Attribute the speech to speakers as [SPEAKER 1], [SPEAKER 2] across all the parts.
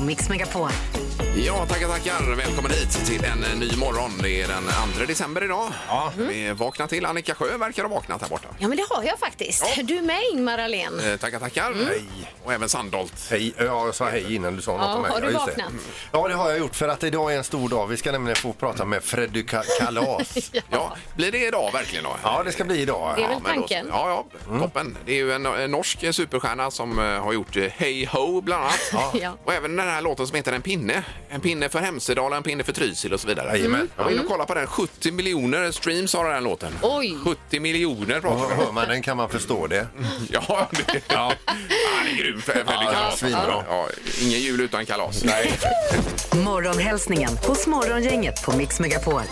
[SPEAKER 1] Mix Megapol.
[SPEAKER 2] Ja, tackar, tackar. Välkommen hit till en eh, ny morgon. Det är den 2 december idag. Ja. Vi vaknar till. Annika Sjö verkar ha vaknat här borta.
[SPEAKER 1] Ja, men det har jag faktiskt.
[SPEAKER 2] Ja.
[SPEAKER 1] Du med Ingmar Ahlén.
[SPEAKER 2] Eh, Tackar, tackar.
[SPEAKER 1] Mm.
[SPEAKER 2] Och även Sandholt.
[SPEAKER 3] Hej, ja, jag sa hej innan du sa något
[SPEAKER 1] Ja,
[SPEAKER 3] om mig.
[SPEAKER 1] har du
[SPEAKER 3] just det. Mm.
[SPEAKER 1] vaknat?
[SPEAKER 3] Ja, det har jag gjort för att idag är en stor dag. Vi ska nämligen få prata med Freddy Ka- Kalas.
[SPEAKER 2] Ja, blir det idag verkligen då?
[SPEAKER 3] ja, det ska bli idag.
[SPEAKER 1] Det är väl
[SPEAKER 2] men då-
[SPEAKER 1] tanken.
[SPEAKER 2] ja, ja, toppen. Det är ju en, en norsk eh, superstjärna som eh, har gjort eh, Hey Ho bland annat.
[SPEAKER 1] Ja.
[SPEAKER 2] Och även den här låten som heter En pinne. En pinne för Hemsedal, en pinne för Trysil och så vidare.
[SPEAKER 3] Jajamän.
[SPEAKER 2] Jag var inne och kollade på den. 70 miljoner streams har den här låten.
[SPEAKER 1] Oj.
[SPEAKER 2] 70 miljoner pratar
[SPEAKER 3] Och
[SPEAKER 2] vi om.
[SPEAKER 3] Hör man den kan man förstå det.
[SPEAKER 2] Ja, det, ja. han är grym. Fredrik
[SPEAKER 3] Ja,
[SPEAKER 2] Kalas.
[SPEAKER 3] svinbra.
[SPEAKER 2] Ja, ingen jul utan kalas.
[SPEAKER 1] Morgonhälsningen hos Morgongänget på Mix Megapol.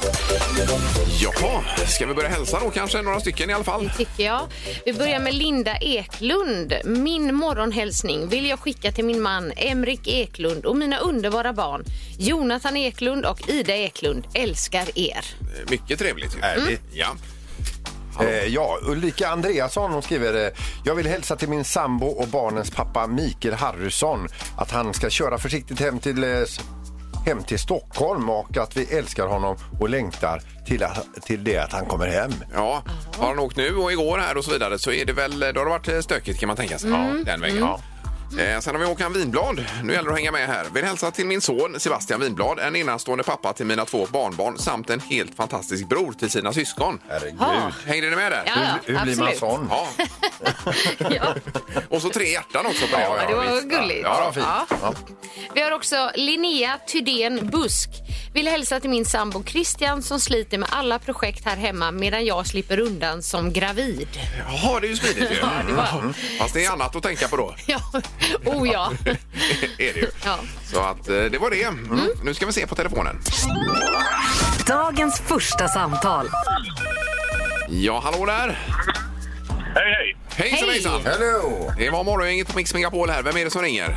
[SPEAKER 2] Jaha, ska vi börja hälsa då kanske? Några stycken i alla fall.
[SPEAKER 4] tycker jag. Vi börjar med Linda Eklund. Min morgonhälsning vill jag skicka till min man Emrik Eklund och mina underbara barn Jonathan Eklund och Ida Eklund. Älskar er.
[SPEAKER 2] Mycket trevligt. ju. Mm.
[SPEAKER 3] Härligt.
[SPEAKER 2] Ja.
[SPEAKER 3] Eh, ja, Ulrika Andreasson hon skriver eh, Jag vill hälsa till min sambo och barnens pappa Mikael Harrison att han ska köra försiktigt hem till, eh, s- hem till Stockholm och att vi älskar honom och längtar till, att, till det att han kommer hem.
[SPEAKER 2] Ja, har han åkt nu och igår här och så vidare så är det väl, då har det varit eh, stökigt kan man tänka sig. Ja, den vägen. Eh, sen har vi Håkan Winblad. Nu gäller det att hänga med här. Vill hälsa till min son Sebastian Winblad, en enastående pappa till mina två barnbarn samt en helt fantastisk bror till sina syskon.
[SPEAKER 3] Herregud.
[SPEAKER 4] Ja.
[SPEAKER 2] Hängde ni med där?
[SPEAKER 4] Ja.
[SPEAKER 3] Hur, hur blir man
[SPEAKER 4] absolut.
[SPEAKER 3] sån?
[SPEAKER 2] Ja.
[SPEAKER 4] Ja,
[SPEAKER 2] Och så tre hjärtan också på det.
[SPEAKER 3] Ja,
[SPEAKER 4] det var gulligt.
[SPEAKER 2] Ja,
[SPEAKER 3] Ja, fint.
[SPEAKER 4] Ja.
[SPEAKER 3] Ja.
[SPEAKER 4] Vi har också Linnea Tydén Busk. Vill hälsa till min sambo Christian som sliter med alla projekt här hemma medan jag slipper undan som gravid.
[SPEAKER 2] Jaha, det är ju smidigt ju. Mm.
[SPEAKER 4] Ja, det var...
[SPEAKER 2] Fast det är annat att tänka på då.
[SPEAKER 4] Ja, oh ja.
[SPEAKER 2] är det ju.
[SPEAKER 4] Ja. Mm.
[SPEAKER 2] Så att eh, det var det. Nu ska vi se på telefonen.
[SPEAKER 1] Dagens första samtal.
[SPEAKER 2] Ja, hallå där!
[SPEAKER 5] Hej, hej!
[SPEAKER 2] Hejsan
[SPEAKER 4] Hej.
[SPEAKER 2] hejsan!
[SPEAKER 3] Hello!
[SPEAKER 2] Det var morgongänget på Mix Megapol här. Vem är det som ringer?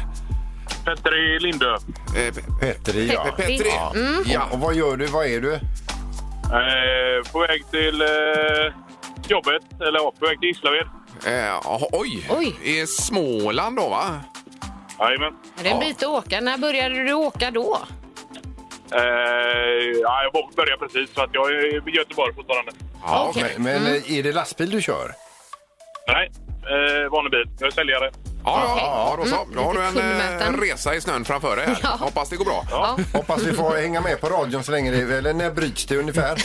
[SPEAKER 5] Petter i Lindö.
[SPEAKER 2] Eh, Pe-
[SPEAKER 3] Petteri, ja.
[SPEAKER 4] Petteri.
[SPEAKER 2] Petri?
[SPEAKER 3] Ja.
[SPEAKER 4] Mm.
[SPEAKER 2] Ja.
[SPEAKER 3] Och vad gör du? Vad är du?
[SPEAKER 5] Eh, på väg till eh, jobbet, eller ja, på väg till Gislaved.
[SPEAKER 2] Eh, aha, oj.
[SPEAKER 4] Oj.
[SPEAKER 2] I Småland då va?
[SPEAKER 5] Jajamän.
[SPEAKER 4] Det är en bit att åka. När började du åka då?
[SPEAKER 5] Eh, ja, jag börjar precis, så att jag är i Göteborg fortfarande.
[SPEAKER 2] Ja,
[SPEAKER 4] Okej.
[SPEAKER 3] Men
[SPEAKER 2] Mm.
[SPEAKER 3] eh, är det lastbil du kör?
[SPEAKER 5] Nej, eh, vanlig bil. Jag är säljare.
[SPEAKER 2] Ja, ja, ja, då så.
[SPEAKER 4] Mm,
[SPEAKER 2] Då har du
[SPEAKER 4] lite
[SPEAKER 2] en eh,
[SPEAKER 4] kundmöten.
[SPEAKER 2] resa i snön framför dig här. Hoppas det går bra.
[SPEAKER 4] Ja.
[SPEAKER 3] Hoppas vi får hänga med på radion så länge det är. Eller när bryts det ungefär?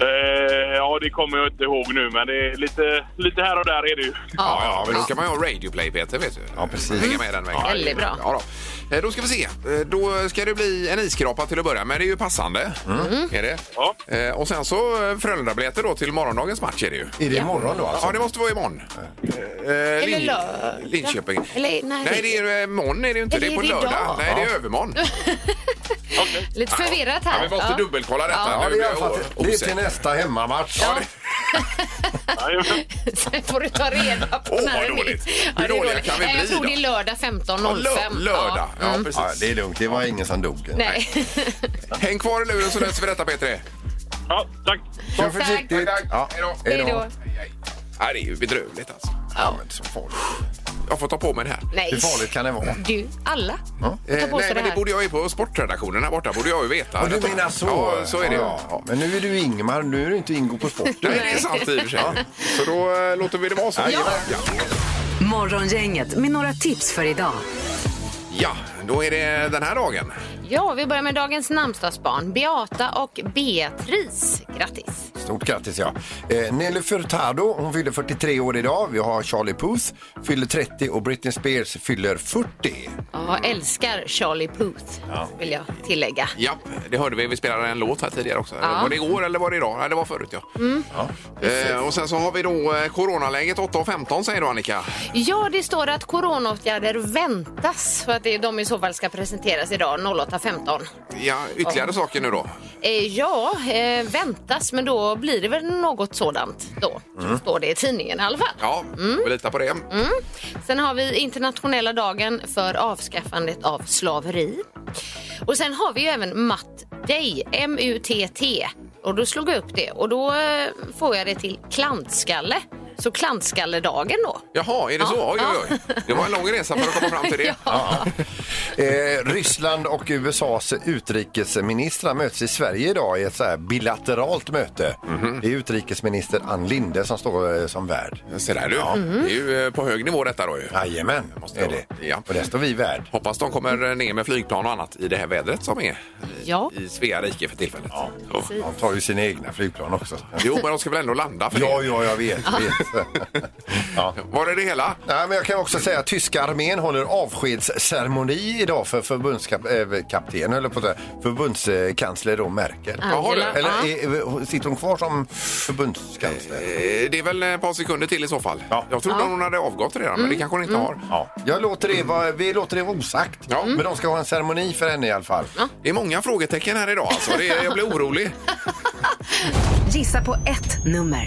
[SPEAKER 5] Eh, ja, det kommer jag inte ihåg nu, men det är lite, lite här och där är det ju.
[SPEAKER 2] Ja, ja, men då ska man ju ha radioplay Peter, vet du.
[SPEAKER 3] Ja, precis.
[SPEAKER 2] Hänga med den vägen.
[SPEAKER 4] Ja, väldigt bra.
[SPEAKER 2] Ja, då. Eh, då ska vi se. Eh, Då ska det bli en isskrapa till att börja med. Det är ju passande.
[SPEAKER 4] Mm.
[SPEAKER 2] Är det?
[SPEAKER 5] Ja.
[SPEAKER 2] Eh, Och sen så eh, Frölunda-biljetter då till morgondagens match är det ju.
[SPEAKER 3] Är det imorgon då
[SPEAKER 2] Ja,
[SPEAKER 3] alltså?
[SPEAKER 2] det måste vara imorgon. Eller
[SPEAKER 4] lördag.
[SPEAKER 2] Linköping.
[SPEAKER 4] Eller, nej.
[SPEAKER 2] nej, det är ju imorgon är det ju inte.
[SPEAKER 4] Eller
[SPEAKER 2] det är på
[SPEAKER 4] är det
[SPEAKER 2] lördag.
[SPEAKER 4] idag?
[SPEAKER 2] Nej, det är övermorgon.
[SPEAKER 5] Okej.
[SPEAKER 4] Lite förvirrat
[SPEAKER 2] Ja,
[SPEAKER 4] här.
[SPEAKER 2] vi måste dubbelkolla detta.
[SPEAKER 3] Ja,
[SPEAKER 2] Nu
[SPEAKER 3] det är, i
[SPEAKER 2] blir
[SPEAKER 3] alla
[SPEAKER 2] jag
[SPEAKER 3] fall
[SPEAKER 2] o-
[SPEAKER 3] det är
[SPEAKER 2] osäker.
[SPEAKER 3] till nästa hemmamatch.
[SPEAKER 4] Ja.
[SPEAKER 5] Jajamän.
[SPEAKER 4] Sen får du ta reda på
[SPEAKER 2] Åh, vad
[SPEAKER 4] när det
[SPEAKER 2] dåligt.
[SPEAKER 4] blir.
[SPEAKER 2] Hur
[SPEAKER 4] det är
[SPEAKER 2] dåliga kan vi
[SPEAKER 4] Nej, Jag
[SPEAKER 2] bli
[SPEAKER 4] tror
[SPEAKER 2] då?
[SPEAKER 4] det är lördag 15.05.
[SPEAKER 2] Ja, lö- lördag. Ja,
[SPEAKER 4] Mm.
[SPEAKER 3] Ja,
[SPEAKER 2] precis.
[SPEAKER 3] det är lugnt. Det var ingen som dog.
[SPEAKER 4] Nej.
[SPEAKER 2] Häng kvar i luren så löser vi detta, Peter.
[SPEAKER 5] Ja, tack.
[SPEAKER 3] Kör försiktigt.
[SPEAKER 2] Tack, tack.
[SPEAKER 3] Ja,
[SPEAKER 2] Hej då.
[SPEAKER 3] hej
[SPEAKER 4] Hej då.
[SPEAKER 3] då.
[SPEAKER 2] Nej, det är ju bedrövligt alltså.
[SPEAKER 3] Ja, men så farligt.
[SPEAKER 2] Jag får ta på mig det här.
[SPEAKER 4] Nej.
[SPEAKER 3] Hur farligt kan det vara?
[SPEAKER 4] Du, alla.
[SPEAKER 2] Eh,
[SPEAKER 4] Ta på
[SPEAKER 2] nej,
[SPEAKER 4] sig det
[SPEAKER 2] men det
[SPEAKER 4] här.
[SPEAKER 2] borde jag ju på sportredaktionen här borta. borde jag ju veta.
[SPEAKER 3] Och du
[SPEAKER 2] detta.
[SPEAKER 3] menar så?
[SPEAKER 2] Ja, så är det ju.
[SPEAKER 3] Ja, ja. Men nu är du Ingmar, nu är du inte Ingo på sporten.
[SPEAKER 2] Nej, det är sant i och för sig. Så då eh, låter vi det vara så.
[SPEAKER 3] Ja.
[SPEAKER 2] Ja.
[SPEAKER 1] Morgongänget med några tips för idag.
[SPEAKER 2] ja, då är det den här dagen.
[SPEAKER 4] Ja, vi börjar med dagens namnsdagsbarn. Beata och Beatrice. Grattis.
[SPEAKER 3] Stort grattis, ja. Eh, Nelly Furtado, hon fyller 43 år idag. Vi har Charlie Puth, fyller 30 och Britney Spears fyller 40.
[SPEAKER 4] Jag älskar Charlie Puth, vill jag tillägga.
[SPEAKER 2] Ja, det hörde vi. Vi spelade en låt här tidigare också.
[SPEAKER 4] Ja. Mm.
[SPEAKER 2] Var det igår eller var det idag? Nej, det var förut ja. eh, och sen så har vi då eh, coronaläget 8.15 säger du Annika.
[SPEAKER 4] Ja, det står att coronaåtgärder väntas för att det är de i så fall ska presenteras idag 08.15.
[SPEAKER 2] Ja, ytterligare saker nu då.
[SPEAKER 4] Eh, ja, eh, väntas, men då blir det väl något sådant då. Står det i tidningen i alla fall.
[SPEAKER 2] Mm. Ja,
[SPEAKER 4] Mm.
[SPEAKER 2] vi litar på det.
[SPEAKER 4] Sen har vi internationella dagen för avskaffandet av slaveri. Och sen har vi ju även Matt Day, M-U-T-T. Och då slog jag upp det och då eh, får jag det till klantskalle. Så klantskalledagen då.
[SPEAKER 2] Jaha, är det så? Oj, oj, oj. Det var en lång resa för att komma fram till det.
[SPEAKER 3] Eh, Ryssland och USAs utrikesministrar möts i Sverige idag i ett så här bilateralt möte. Det är utrikesminister Ann Linde som står eh, som värd.
[SPEAKER 2] Se där du.
[SPEAKER 4] Mm.
[SPEAKER 2] Det är ju eh, på hög nivå detta då ju.
[SPEAKER 3] Jajamän,
[SPEAKER 2] måste
[SPEAKER 3] är
[SPEAKER 2] jag-
[SPEAKER 3] det.
[SPEAKER 2] Ja.
[SPEAKER 3] Och där står vi värd.
[SPEAKER 2] Hoppas de kommer ner med flygplan och annat i det här vädret som är
[SPEAKER 4] Ja.
[SPEAKER 2] i Svea rike för tillfället. Ja.
[SPEAKER 3] De tar ju sina egna flygplan också.
[SPEAKER 2] Jo, men de ska väl ändå landa för
[SPEAKER 3] Ja,
[SPEAKER 2] det.
[SPEAKER 3] ja, jag vet. Jag vet. ja.
[SPEAKER 2] Var är det hela?
[SPEAKER 3] Nej, men jag kan också säga att tyska armén håller avskedsceremoni idag för förbundskapten, eller på att säga, förbundskansler då Merkel.
[SPEAKER 2] Jaha, du.
[SPEAKER 4] Angela.
[SPEAKER 3] Eller
[SPEAKER 4] Ja.
[SPEAKER 3] är, sitter hon kvar som förbundskansler?
[SPEAKER 2] Eh, Det är väl ett par sekunder till i så fall.
[SPEAKER 3] Ja.
[SPEAKER 2] Jag trodde hon hade avgått redan, men det kanske hon inte har.
[SPEAKER 3] Ja. Jag låter det vara, vi låter det vara osagt.
[SPEAKER 2] Ja.
[SPEAKER 3] Men de ska ha en ceremoni för henne i alla fall.
[SPEAKER 2] Det är många frågetecken här idag alltså. Det är, jag blir orolig.
[SPEAKER 1] Gissa på ett nummer.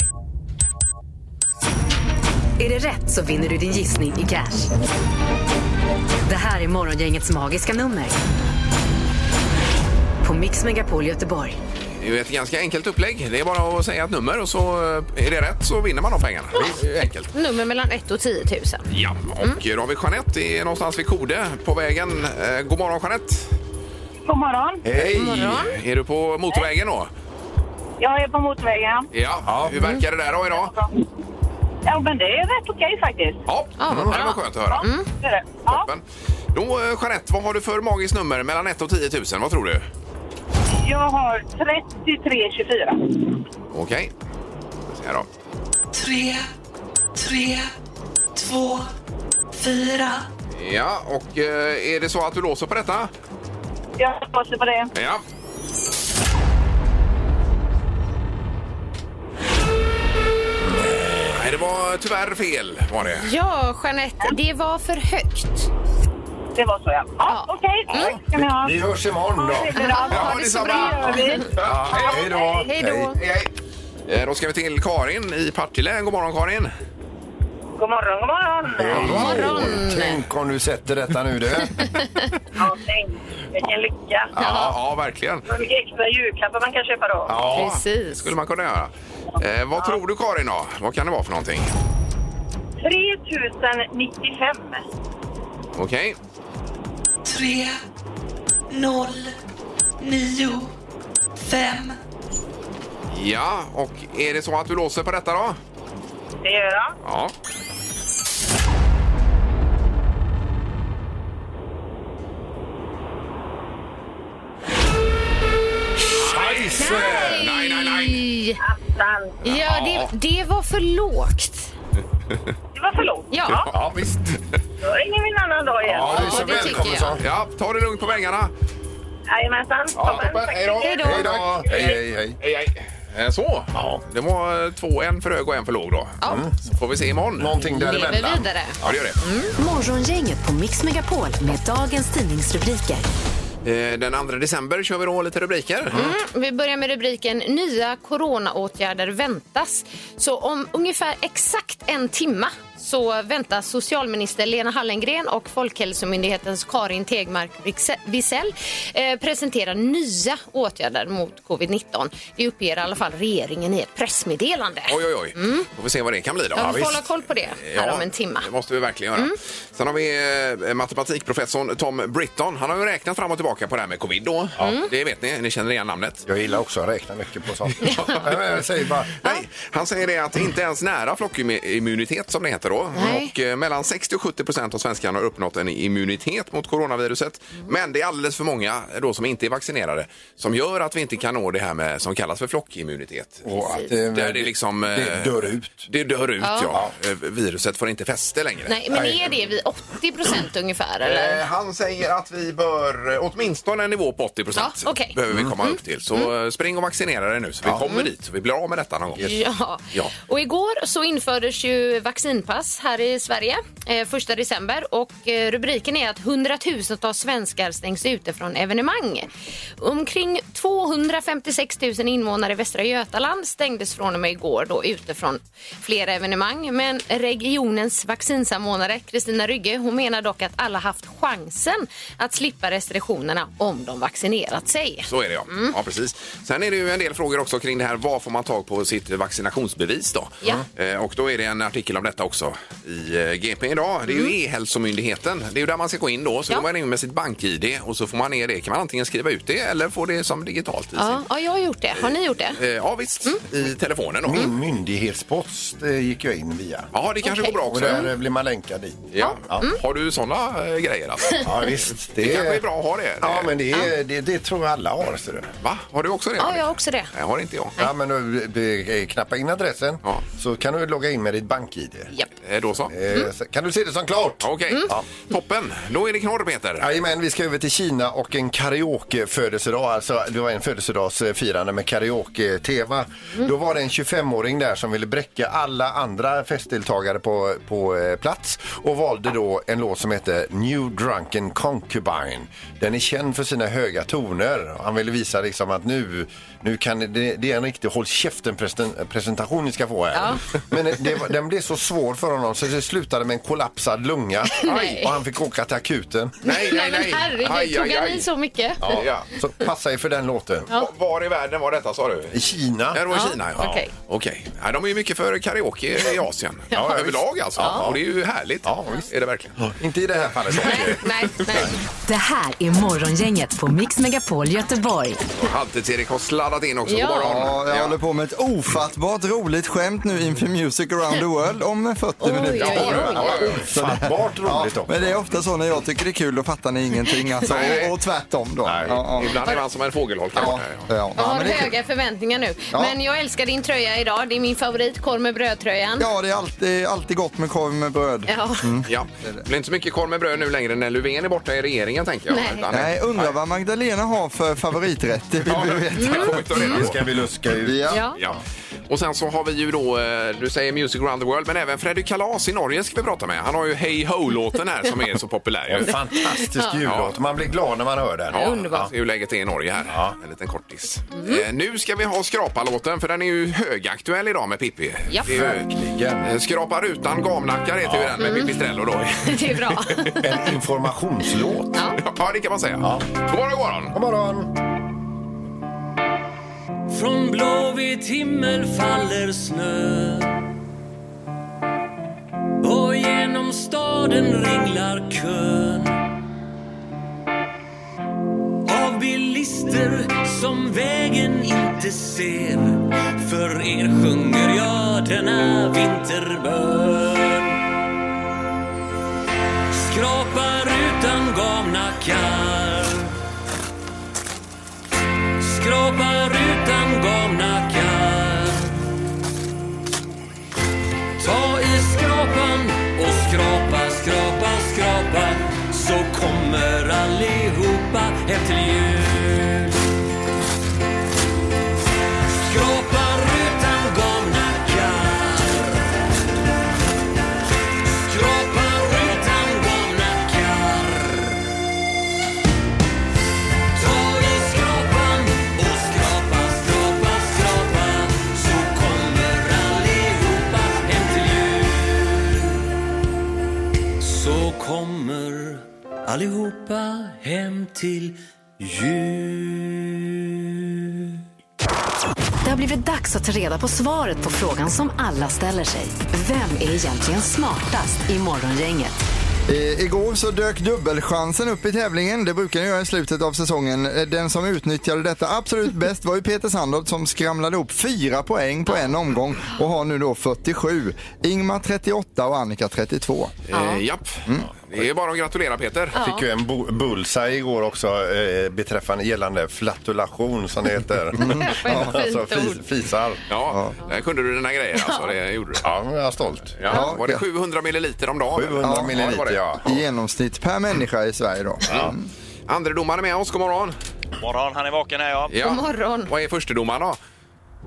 [SPEAKER 1] Är det rätt så vinner du din gissning i cash. Det här är Morgongängets magiska nummer. På Mix Megapol Göteborg.
[SPEAKER 2] Det är ju ett ganska enkelt upplägg. Det är bara att säga ett nummer och så eh, är det rätt så vinner man de pengarna. Det är ju enkelt.
[SPEAKER 4] Nummer mellan 1 och 10 000.
[SPEAKER 2] Ja, och eh, då har vi Jeanette det är någonstans vid Kode på vägen. Eh, God morgon Jeanette!
[SPEAKER 6] God morgon.
[SPEAKER 3] Hej!
[SPEAKER 2] Är du på motorvägen då?
[SPEAKER 6] Jag är på motorvägen.
[SPEAKER 2] Ja. Hur verkar det där då idag?
[SPEAKER 6] Ja, men det är rätt okej faktiskt.
[SPEAKER 2] Ja,
[SPEAKER 4] Ja, vad
[SPEAKER 2] det var
[SPEAKER 4] bra.
[SPEAKER 2] skönt att höra.
[SPEAKER 6] Det är det. Ja.
[SPEAKER 2] Men Då, eh, Jeanette, vad har du för magiskt nummer mellan 1 och 10 000? Vad tror du?
[SPEAKER 6] Jag har 3324.
[SPEAKER 2] Okej. Ska se här då.
[SPEAKER 7] tre, tre, två, fyra.
[SPEAKER 2] Ja, och eh, är det så att du låser på detta?
[SPEAKER 6] Jag hoppas på det.
[SPEAKER 2] Ja. Nej, det var tyvärr fel var det.
[SPEAKER 4] Ja, Jeanette, det var för högt.
[SPEAKER 6] Det var så ja. ja.
[SPEAKER 4] Ja.
[SPEAKER 6] Okej, tack ska ni ha.
[SPEAKER 3] Vi hörs imorgon då.
[SPEAKER 6] Det blir bra.
[SPEAKER 2] Ja,
[SPEAKER 4] det
[SPEAKER 2] detsamma.
[SPEAKER 6] Det gör vi.
[SPEAKER 3] Ja, hej då!
[SPEAKER 4] Hej då.
[SPEAKER 2] Hej, hej. Eh, Då ska vi till Karin i Partille. God morgon Karin!
[SPEAKER 6] God morgon, god morgon.
[SPEAKER 4] morgon.
[SPEAKER 3] Tänk om du sätter detta nu du.
[SPEAKER 6] Ja, tänk. Vilken lycka.
[SPEAKER 2] Ja, ja verkligen.
[SPEAKER 6] Vilka extra julklappar man kan köpa då.
[SPEAKER 2] Ja,
[SPEAKER 4] Precis.
[SPEAKER 2] det skulle man kunna göra. Eh, vad tror du Karin då? Vad kan det vara för någonting?
[SPEAKER 6] 3095.
[SPEAKER 2] Okej.
[SPEAKER 7] Tre, noll, nio, fem.
[SPEAKER 2] Ja, och är det så att du låser på detta då?
[SPEAKER 6] Det gör jag.
[SPEAKER 2] Ja. Scheisse! Nej, nej, nej.
[SPEAKER 4] Oj.
[SPEAKER 6] Attan.
[SPEAKER 4] Ja, det, det var för lågt.
[SPEAKER 6] Det var för lågt.
[SPEAKER 4] Ja,
[SPEAKER 2] Ja, visst.
[SPEAKER 6] Då ringer vi en annan dag igen.
[SPEAKER 3] Ja, du är så
[SPEAKER 4] Ja, det
[SPEAKER 3] välkommen
[SPEAKER 4] tycker
[SPEAKER 3] så.
[SPEAKER 4] jag.
[SPEAKER 2] Ja, ta det lugnt på vägarna.
[SPEAKER 6] Jajamensan.
[SPEAKER 3] Ja,
[SPEAKER 6] Toppen.
[SPEAKER 3] toppen.
[SPEAKER 6] Tack.
[SPEAKER 3] Hej då!
[SPEAKER 4] Hej då.
[SPEAKER 3] Hej då! Hej, hej, hej.
[SPEAKER 2] Hej, hej. Eh, Så. Ja. Det var eh, två, en för hög och en för låg då.
[SPEAKER 4] Ja.
[SPEAKER 2] Så får vi se imorgon.
[SPEAKER 3] Någonting
[SPEAKER 4] lever
[SPEAKER 3] däremellan.
[SPEAKER 4] vidare.
[SPEAKER 2] Ja, det gör det.
[SPEAKER 1] Morgongänget på Mix Megapol med dagens tidningsrubriker.
[SPEAKER 2] Eh, Den 2 december kör vi då lite rubriker.
[SPEAKER 4] Vi börjar med rubriken Nya coronaåtgärder väntas. Så om ungefär exakt en timme så väntas socialminister Lena Hallengren och Folkhälsomyndighetens Karin Tegmark Wisell eh, presentera nya åtgärder mot covid-19. Det uppger i alla fall regeringen i ett pressmeddelande.
[SPEAKER 2] Oj, oj, oj. Får vi se vad det kan bli då.
[SPEAKER 4] Ja, vi får hålla koll på det här
[SPEAKER 2] Ja,
[SPEAKER 4] om en Mm. timme.
[SPEAKER 2] Det måste vi verkligen göra. Sen har vi eh, matematikprofessorn Tom Britton. Han har ju räknat fram och tillbaka på det här med covid då. Mm. Det vet ni, ni känner igen namnet.
[SPEAKER 3] Jag gillar också att räkna mycket på sånt. Nej, men jag säger bara,
[SPEAKER 2] Nej, han säger det att inte ens nära flockimmunitet som det heter då.
[SPEAKER 4] Nej.
[SPEAKER 2] Och eh, mellan 60 och 70 procent av svenskarna har uppnått en immunitet mot coronaviruset.
[SPEAKER 4] Mm.
[SPEAKER 2] Men det är alldeles för många då som inte är vaccinerade som gör att vi inte kan nå det här med som kallas för flockimmunitet.
[SPEAKER 3] och att, eh,
[SPEAKER 2] Där det liksom... eh,
[SPEAKER 3] det dör ut.
[SPEAKER 2] Det dör ut, ja.
[SPEAKER 4] Ja.
[SPEAKER 2] Eh, Viruset får inte fäste längre.
[SPEAKER 4] Nej, men är det vid 80 procent ungefär? Eller?
[SPEAKER 2] Eh, Han säger att vi bör eh, åtminstone en nivå på 80 procent.
[SPEAKER 4] Ja, okej. Mm.
[SPEAKER 2] Behöver vi komma upp till. Så eh, spring och vaccinera dig nu så vi kommer dit. Så vi blir av med detta någon gång.
[SPEAKER 4] Ja.
[SPEAKER 2] Ja.
[SPEAKER 4] och igår så infördes ju vaccinpass firas här i Sverige eh, första december och eh, rubriken är att hundratusentals svenskar stängs ute från evenemang. Omkring 256 000 invånare i Västra Götaland stängdes från och med igår då ute från flera evenemang. Men regionens vaccinsamordnare Kristina Rygge hon menar dock att alla haft chansen att slippa restriktionerna om de vaccinerat sig.
[SPEAKER 2] Så är det ja.
[SPEAKER 4] Mm.
[SPEAKER 2] ja precis. Sen är det ju en del frågor också kring det här. Var får man tag på sitt vaccinationsbevis då?
[SPEAKER 4] Ja.
[SPEAKER 2] Eh, Och då är det en artikel om detta också i eh, GP idag. Det är ju E-hälsomyndigheten. Det är ju där man ska gå in då. Så
[SPEAKER 4] Mm. Ja.
[SPEAKER 2] går man in med sitt bank-ID och så får man ner det. Kan man antingen skriva ut det eller få det som digitalt i
[SPEAKER 4] Ja, Mm. ja, jag har gjort det. Har ni gjort det?
[SPEAKER 2] sin... Eh, Ja visst, i telefonen då.
[SPEAKER 4] Mm.
[SPEAKER 3] Min myndighetspost eh, gick jag in via.
[SPEAKER 2] Ja, det kanske
[SPEAKER 4] Okej.
[SPEAKER 2] går bra
[SPEAKER 3] Och
[SPEAKER 2] också.
[SPEAKER 3] där eh, blir man länkad dit.
[SPEAKER 2] Ja. Har du sådana eh, grejer alltså?
[SPEAKER 3] Ja, visst.
[SPEAKER 2] Det kanske är bra att ha det.
[SPEAKER 3] Ja, men det, är, det, det tror jag alla har. Så det.
[SPEAKER 2] Va? Har du också det?
[SPEAKER 4] Ja, jag har
[SPEAKER 2] Annika?
[SPEAKER 4] också det.
[SPEAKER 2] Nej, har inte jag.
[SPEAKER 3] Ja, men du, du, eh, knappa in adressen
[SPEAKER 2] Ja.
[SPEAKER 3] så kan du logga in med ditt bank-id.
[SPEAKER 4] Ja.
[SPEAKER 2] Eh, Då så.
[SPEAKER 3] Eh, så- Kan du se det som klart?
[SPEAKER 2] Okej, ja. toppen. Då är det knorr, Peter.
[SPEAKER 3] Jajamän, vi ska över till Kina och en karaokefödelsedag. Alltså, det var en födelsedagsfirande med karaoke-teva. Då var det en 25-åring där som ville bräcka alla andra festdeltagare på, på eh, plats och valde då en låt som heter New Drunken Concubine. Den är känd för sina höga toner. Han ville visa liksom att nu, nu kan det, det är en riktig håll käften-presentation ni ska få här. Men det, var- den blev så svår för honom så det slutade med en kollapsad lunga
[SPEAKER 4] Nej.
[SPEAKER 3] och han fick åka till akuten.
[SPEAKER 2] Nej, nej,
[SPEAKER 4] men herregud,
[SPEAKER 2] Aj,
[SPEAKER 4] tog
[SPEAKER 2] aj,
[SPEAKER 4] han
[SPEAKER 2] aj.
[SPEAKER 4] i så mycket?
[SPEAKER 2] Ja. Ja.
[SPEAKER 3] Så passa er för den låten.
[SPEAKER 2] Va- Var i världen var detta sa du?
[SPEAKER 3] I Kina.
[SPEAKER 2] Ja, det var i
[SPEAKER 4] Ja,
[SPEAKER 2] Kina. Ja.
[SPEAKER 4] okej.
[SPEAKER 2] Okej. Ja, de är ju mycket för karaoke i Asien.
[SPEAKER 3] Ja, ja,
[SPEAKER 2] Överlag alltså. Och det är ju härligt. Ja, visst. Är det verkligen.
[SPEAKER 3] Inte i det här fallet.
[SPEAKER 4] Nej, nej, nej.
[SPEAKER 1] Det här är Morgongänget på Mix Megapol Göteborg.
[SPEAKER 2] Halvtids-Erik har sladdat in också.
[SPEAKER 4] Ja.
[SPEAKER 2] God morgon.
[SPEAKER 8] Ja, jag håller på med ett ofattbart roligt skämt nu inför Music around the world om 40
[SPEAKER 4] Oj,
[SPEAKER 8] minuter.
[SPEAKER 4] oj, oj.
[SPEAKER 3] Ofattbart roligt
[SPEAKER 8] Ja,
[SPEAKER 3] också.
[SPEAKER 8] men det är ofta så när jag tycker det är kul, då fattar ni ingenting. Alltså,
[SPEAKER 2] Nej.
[SPEAKER 8] och, och tvärtom då.
[SPEAKER 2] Nej,
[SPEAKER 8] Ja, ja.
[SPEAKER 2] Ibland är man som en fågelholk.
[SPEAKER 8] Ja,
[SPEAKER 2] Ja.
[SPEAKER 8] ja. Ja,
[SPEAKER 4] Jag har
[SPEAKER 8] men det är kul.
[SPEAKER 4] höga förväntningar nu.
[SPEAKER 8] Ja.
[SPEAKER 4] Men jag älskar din tröja idag. Det är min favorit, korv med brödtröjan.
[SPEAKER 8] ja, det är alltid, alltid gott med korv med bröd.
[SPEAKER 4] Ja.
[SPEAKER 2] Ja. Det blir inte så mycket korv med bröd nu längre när Löfven är borta i regeringen, tänker jag.
[SPEAKER 4] Nej.
[SPEAKER 2] Utan-
[SPEAKER 8] Nej, undrar vad Magdalena har för favoriträtt, det vill
[SPEAKER 2] Ja,
[SPEAKER 8] vi
[SPEAKER 2] det
[SPEAKER 8] veta.
[SPEAKER 2] får vi ta reda
[SPEAKER 3] Det
[SPEAKER 2] på.
[SPEAKER 3] ska vi luska ut.
[SPEAKER 8] Ja.
[SPEAKER 4] Ja.
[SPEAKER 2] Mm. Ja. Och sen så har vi ju då, eh, du säger Music around the world, men även Freddy Kalas i Norge ska vi prata med. Han har ju Hey Ho-låten här som är så populär.
[SPEAKER 3] En
[SPEAKER 2] ju.
[SPEAKER 3] fantastisk jullåt. Man blir glad när man hör den.
[SPEAKER 2] Ja,
[SPEAKER 4] underbart. Mm.
[SPEAKER 2] det är ju läget är i Norge här. En liten kortis. Eh, nu ska vi ha skrapalåten för den är ju högaktuell idag med Pippi.
[SPEAKER 4] Ja.
[SPEAKER 2] Det är ju,
[SPEAKER 3] Verkligen.
[SPEAKER 2] eh, Skrapa rutan gamnackar heter ju den med Pippi Strello
[SPEAKER 4] Mm.
[SPEAKER 2] då.
[SPEAKER 4] Det är bra.
[SPEAKER 3] En informationslåt.
[SPEAKER 2] ja, det kan man säga. God morgon, god morgon.
[SPEAKER 3] God morgon!
[SPEAKER 9] Från blåvit himmel faller snö och genom staden ringlar kön av bilister som vägen inte ser. För er sjunger jag denna vinterbön. Skrapar utan gamnackar skrapar utan gamnackar. Ta i skrapan och skrapa, skrapa, skrapa så kommer allihopa hem till jul. Skrapar utan gamnackar. Skrapar utan gamnackar. Ta i skrapan och skrapa, skrapa, skrapa så kommer allihopa hem till jul. Så kommer allihopa hem till jul.
[SPEAKER 1] Det har blivit dags att ta reda på svaret på frågan som alla ställer sig. Vem är egentligen smartast i Morgongänget?
[SPEAKER 8] I- Igår så dök dubbelchansen upp i tävlingen. Det brukar den göra i slutet av säsongen. Eh, Den som utnyttjade detta absolut bäst var ju Peter Sandholt som skramlade upp fyra poäng på en omgång och har nu då 47. Ingmar 38 och Annika 32.
[SPEAKER 2] Eh, japp. Det är bara att gratulera Peter.
[SPEAKER 3] Fick ju en bu- bullseye igår också eh, beträffande gällande flatulation som det heter.
[SPEAKER 4] Vad ett
[SPEAKER 3] alltså
[SPEAKER 4] fint
[SPEAKER 3] fis,
[SPEAKER 4] ord.
[SPEAKER 3] fisar.
[SPEAKER 2] Ja, där kunde du dina grejer alltså. Det gjorde du.
[SPEAKER 3] Ja, men jag är stolt.
[SPEAKER 2] Ja.
[SPEAKER 8] Ja,
[SPEAKER 2] var det
[SPEAKER 8] ja.
[SPEAKER 2] 700 milliliter om dagen?
[SPEAKER 3] 700
[SPEAKER 2] det var
[SPEAKER 3] milliliter,
[SPEAKER 2] det.
[SPEAKER 3] ja.
[SPEAKER 8] I genomsnitt per människa i Sverige då. Mm.
[SPEAKER 2] Andredomaren är med oss, god morgon.
[SPEAKER 5] Morgon, han är vaken här ja.
[SPEAKER 2] Ja.
[SPEAKER 4] God morgon.
[SPEAKER 2] Vad är förstedomaren då?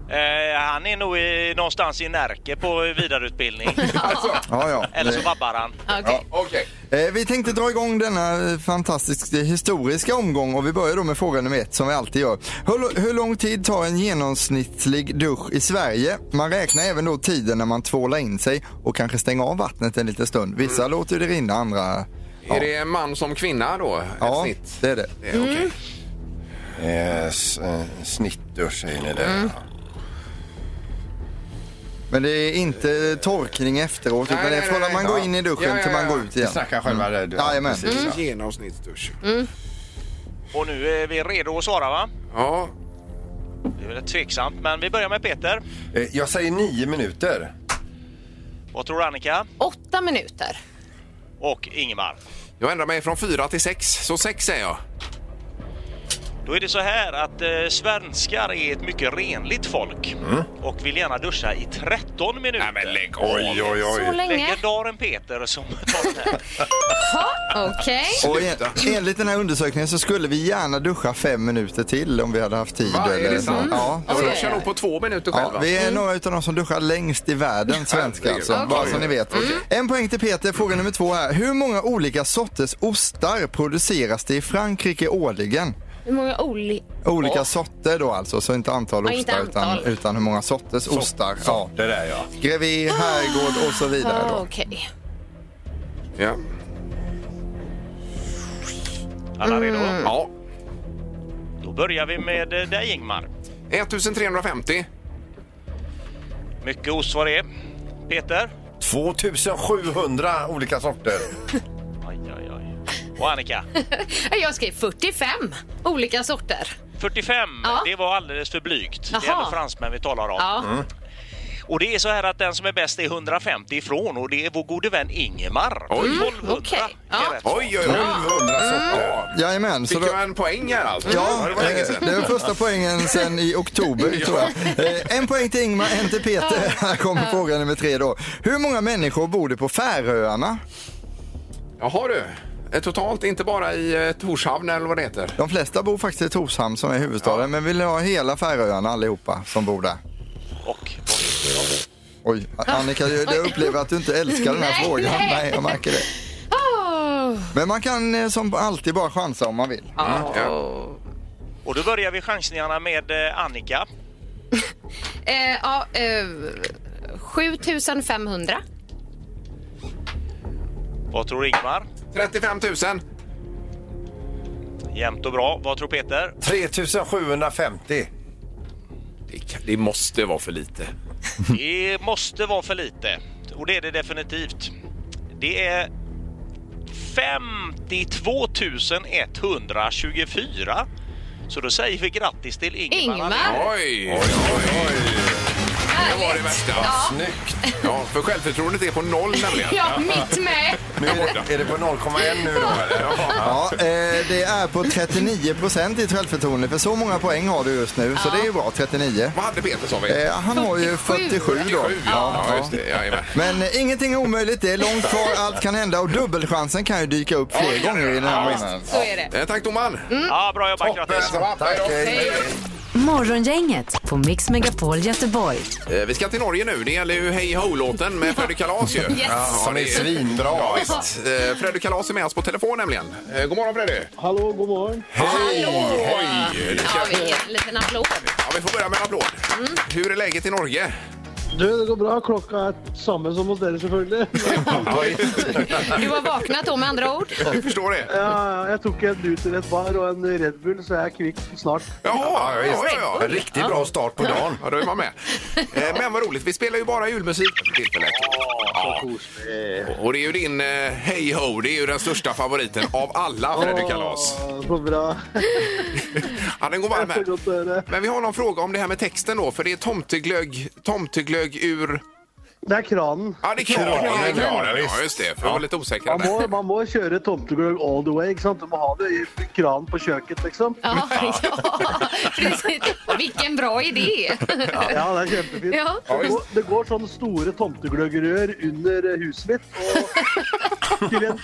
[SPEAKER 10] Eh, han är nog i, någonstans i Närke på vidareutbildning.
[SPEAKER 8] Ja, ja.
[SPEAKER 10] Eller så vabbar han.
[SPEAKER 4] Okej.
[SPEAKER 2] Okej.
[SPEAKER 8] Eh, Vi tänkte dra igång denna fantastiska historiska omgång och vi börjar då med fråga nummer ett som vi alltid gör. Hur, hur lång tid tar en genomsnittlig dusch i Sverige? Man räknar även då tiden när man tvålar in sig och kanske stänger av vattnet en liten stund. Vissa låter det rinna, andra...
[SPEAKER 2] Mm. Är det man som kvinna då? Ett
[SPEAKER 8] Ja,
[SPEAKER 2] snitt?
[SPEAKER 8] det är det.
[SPEAKER 2] Det är Okej.
[SPEAKER 3] Eh, s- eh, Snittdusch säger ni det.
[SPEAKER 8] Men det är inte torkning efteråt
[SPEAKER 2] Nej,
[SPEAKER 8] utan det är
[SPEAKER 2] nej,
[SPEAKER 8] från
[SPEAKER 2] nej,
[SPEAKER 8] när man
[SPEAKER 2] nej.
[SPEAKER 8] går in i duschen
[SPEAKER 2] Ja, ja,
[SPEAKER 8] till man
[SPEAKER 2] ja.
[SPEAKER 8] går ut
[SPEAKER 3] Vi
[SPEAKER 8] igen.
[SPEAKER 3] snackar själva det. du.
[SPEAKER 8] Mm. Jajamän.
[SPEAKER 3] precis, ja.
[SPEAKER 2] Genomsnittsdusch.
[SPEAKER 10] Och nu är vi redo att svara va?
[SPEAKER 2] Ja.
[SPEAKER 10] Det är väl tveksamt, men vi börjar med Peter.
[SPEAKER 3] Eh, Jag säger nio minuter.
[SPEAKER 10] Vad tror du Annika?
[SPEAKER 4] Åtta minuter.
[SPEAKER 10] Och Ingemar.
[SPEAKER 2] Jag ändrar mig från fyra till sex, så sex säger jag.
[SPEAKER 10] Då är det så här att eh, svenskar är ett mycket renligt folk
[SPEAKER 4] Mm.
[SPEAKER 10] och vill gärna duscha i 13 minuter.
[SPEAKER 2] lägg av!
[SPEAKER 3] Oj, oj,
[SPEAKER 4] Så
[SPEAKER 3] oj.
[SPEAKER 4] länge.
[SPEAKER 10] Legendaren Peter som tar den här.
[SPEAKER 4] Ha, Okej.
[SPEAKER 8] Och en,
[SPEAKER 2] Sluta.
[SPEAKER 8] enligt den här undersökningen så skulle vi gärna duscha fem minuter till om vi hade haft tid.
[SPEAKER 2] Va, är det
[SPEAKER 8] eller så.
[SPEAKER 2] sant?
[SPEAKER 8] Ja,
[SPEAKER 2] Jag
[SPEAKER 4] Oj,
[SPEAKER 2] duschar nog på två minuter själv.
[SPEAKER 8] Ja,
[SPEAKER 2] va?
[SPEAKER 8] vi
[SPEAKER 4] Mm.
[SPEAKER 8] är några utav de som duschar längst i världen, svenskar alltså.
[SPEAKER 2] Herregud.
[SPEAKER 8] Bara
[SPEAKER 2] Okej.
[SPEAKER 8] så ni vet.
[SPEAKER 2] Mm.
[SPEAKER 8] En poäng till Peter, fråga nummer två här. Hur många olika sorters ostar produceras det i Frankrike årligen?
[SPEAKER 4] Hur många oli...
[SPEAKER 8] Olika sorter då alltså, så inte antal
[SPEAKER 4] Ja,
[SPEAKER 8] ostar
[SPEAKER 4] inte antal.
[SPEAKER 8] Utan, utan hur många sorters ostar. Ja.
[SPEAKER 3] Det där ja.
[SPEAKER 8] Grevé,
[SPEAKER 4] Ah!
[SPEAKER 8] herrgård och så vidare
[SPEAKER 4] Ja,
[SPEAKER 8] då.
[SPEAKER 4] Okej.
[SPEAKER 2] Ja.
[SPEAKER 10] Alla redo?
[SPEAKER 4] Mm.
[SPEAKER 2] ja.
[SPEAKER 10] Då börjar vi med eh, dig Ingmar.
[SPEAKER 2] 1350.
[SPEAKER 10] Mycket ost var det är. Peter?
[SPEAKER 3] 2700 olika sorter.
[SPEAKER 10] Aj, aj, aj. Och Annika?
[SPEAKER 4] Eh, Jag skrev 45 olika sorter.
[SPEAKER 10] 45,
[SPEAKER 4] Ja.
[SPEAKER 10] det var alldeles för blygt. Det är
[SPEAKER 4] Jaha.
[SPEAKER 10] ändå fransmän vi talar om.
[SPEAKER 4] Ja.
[SPEAKER 2] Mm.
[SPEAKER 10] Och det är så här att den som är bäst är 150 ifrån och det är vår gode vän Ingemar.
[SPEAKER 2] Oj. Mm,
[SPEAKER 10] 1200
[SPEAKER 4] okej.
[SPEAKER 10] är
[SPEAKER 4] Ja.
[SPEAKER 10] rätt.
[SPEAKER 2] Oj, oj, oj!
[SPEAKER 3] 1200 sorter.
[SPEAKER 8] Jajamän, så
[SPEAKER 2] Fick
[SPEAKER 8] då...
[SPEAKER 2] jag en poäng här alltså?
[SPEAKER 8] Ja,
[SPEAKER 2] det var länge
[SPEAKER 8] eh,
[SPEAKER 2] sedan.
[SPEAKER 8] det var första poängen sen i oktober tror jag. Eh, En poäng till Ingmar, en till Peter. Här kommer fråga nummer tre då. Hur många människor bor det på Färöarna?
[SPEAKER 2] Jaha du. Eh, Totalt, inte bara i eh, Torshavn eller vad det heter.
[SPEAKER 8] De flesta bor faktiskt i Torshamn som är huvudstaden, men vill ha hela Färöarna allihopa som bor där.
[SPEAKER 10] Och
[SPEAKER 8] Oj, Annika, jag jag upplever att du inte älskar den här
[SPEAKER 4] Nej,
[SPEAKER 8] frågan.
[SPEAKER 4] nej.
[SPEAKER 8] Nej, jag märker det.
[SPEAKER 4] Oh.
[SPEAKER 8] Men man kan eh, som alltid bara chansa om man vill.
[SPEAKER 2] Mm,
[SPEAKER 10] Och då börjar vi chansningarna med eh, Annika.
[SPEAKER 4] Eh, ja, eh, 7500.
[SPEAKER 10] Vad tror Ingmar?
[SPEAKER 2] 35 000.
[SPEAKER 10] Jämnt och bra. Vad tror Peter?
[SPEAKER 3] 3750.
[SPEAKER 2] Det, kan- det måste vara för lite.
[SPEAKER 10] Det måste vara för lite. Och det är det definitivt. Det är 52 124. Så då säger vi grattis till Ingemar.
[SPEAKER 4] Ingmar.
[SPEAKER 2] Oj! Oj, oj, Det var det värsta. Ja.
[SPEAKER 3] Snyggt.
[SPEAKER 2] för självförtroendet är på noll nämligen.
[SPEAKER 4] Ja, mitt med.
[SPEAKER 3] Nu är, det, är det på 0,1 nu då eller?
[SPEAKER 8] Ja, eh, det är på 39 procent i självförtroende, för så många poäng har du just nu, så det är ju bra, 39.
[SPEAKER 2] Vad hade Peter sa vi?
[SPEAKER 8] Eh, han har ju
[SPEAKER 4] 47.
[SPEAKER 8] 47 då.
[SPEAKER 2] Ja, just det. Jajamän.
[SPEAKER 8] Men eh, ingenting är omöjligt, det är långt kvar, allt kan hända och dubbelchansen kan ju dyka upp fler gånger i den här månaden.
[SPEAKER 4] Så är det.
[SPEAKER 2] Eh, Tack domaren!
[SPEAKER 10] Ja, bra jobbat. Grattis.
[SPEAKER 3] Tack. Hej.
[SPEAKER 1] Morgongänget på Mix Megapol Göteborg.
[SPEAKER 2] Eh, Vi ska till Norge nu. Det gäller ju Hej Ho-låten med Freddy Kalas ju. Ja,
[SPEAKER 3] Som är
[SPEAKER 2] det-
[SPEAKER 3] svinbra.
[SPEAKER 2] Ja, visst. Eh, Freddy Kalas är med oss på telefon nämligen. Eh, God morgon Freddy!
[SPEAKER 9] Hallå, god morgon.
[SPEAKER 2] Oj! det
[SPEAKER 4] Ja,
[SPEAKER 2] ska-
[SPEAKER 4] vilken liten applåd.
[SPEAKER 2] Ja, vi får börja med en applåd. Hur är läget i Norge?
[SPEAKER 9] Du, det går bra. Klokka er samme som hos dere, selvfølgelig.
[SPEAKER 4] Du har vaknat då med andra ord.
[SPEAKER 2] Jag förstår det.
[SPEAKER 9] Ja, ja, jeg tok en Nutrient bar og en Red Bull, så jeg er kvikk snart.
[SPEAKER 2] Jaha, ja, ja,
[SPEAKER 3] En
[SPEAKER 2] ja.
[SPEAKER 3] riktigt bra start på dagen.
[SPEAKER 2] Ja, då är man med. Eh, Men vad roligt, vi spelar ju bara julmusik för tillfället. Ja. Och det är ju din eh, Hey Ho, det är ju den största favoriten av alla Freddy Kalas.
[SPEAKER 9] Åh, Så bra.
[SPEAKER 2] Ja, den går varm
[SPEAKER 9] Så
[SPEAKER 2] här.
[SPEAKER 9] godt å høre.
[SPEAKER 2] Men vi har någon fråga om det här med texten då, för det är tomteglögg, tomteglögg ur...
[SPEAKER 7] Det er kranen.
[SPEAKER 2] Ja, det är kranen. kranen. kranen ja, just det. För jag var lite osäker.
[SPEAKER 7] Man må, man må kjøre tomtegløgg all the way. ikke sant? Du må ha det i kranen på kjøkkenet, liksom.
[SPEAKER 4] Ja, ja, precis. Vilken bra idé!
[SPEAKER 7] Ja, det er kjempefint.
[SPEAKER 4] Ja.
[SPEAKER 7] Det, går, det går sånne store tomtegløggrør under eh, huset mitt. Og til en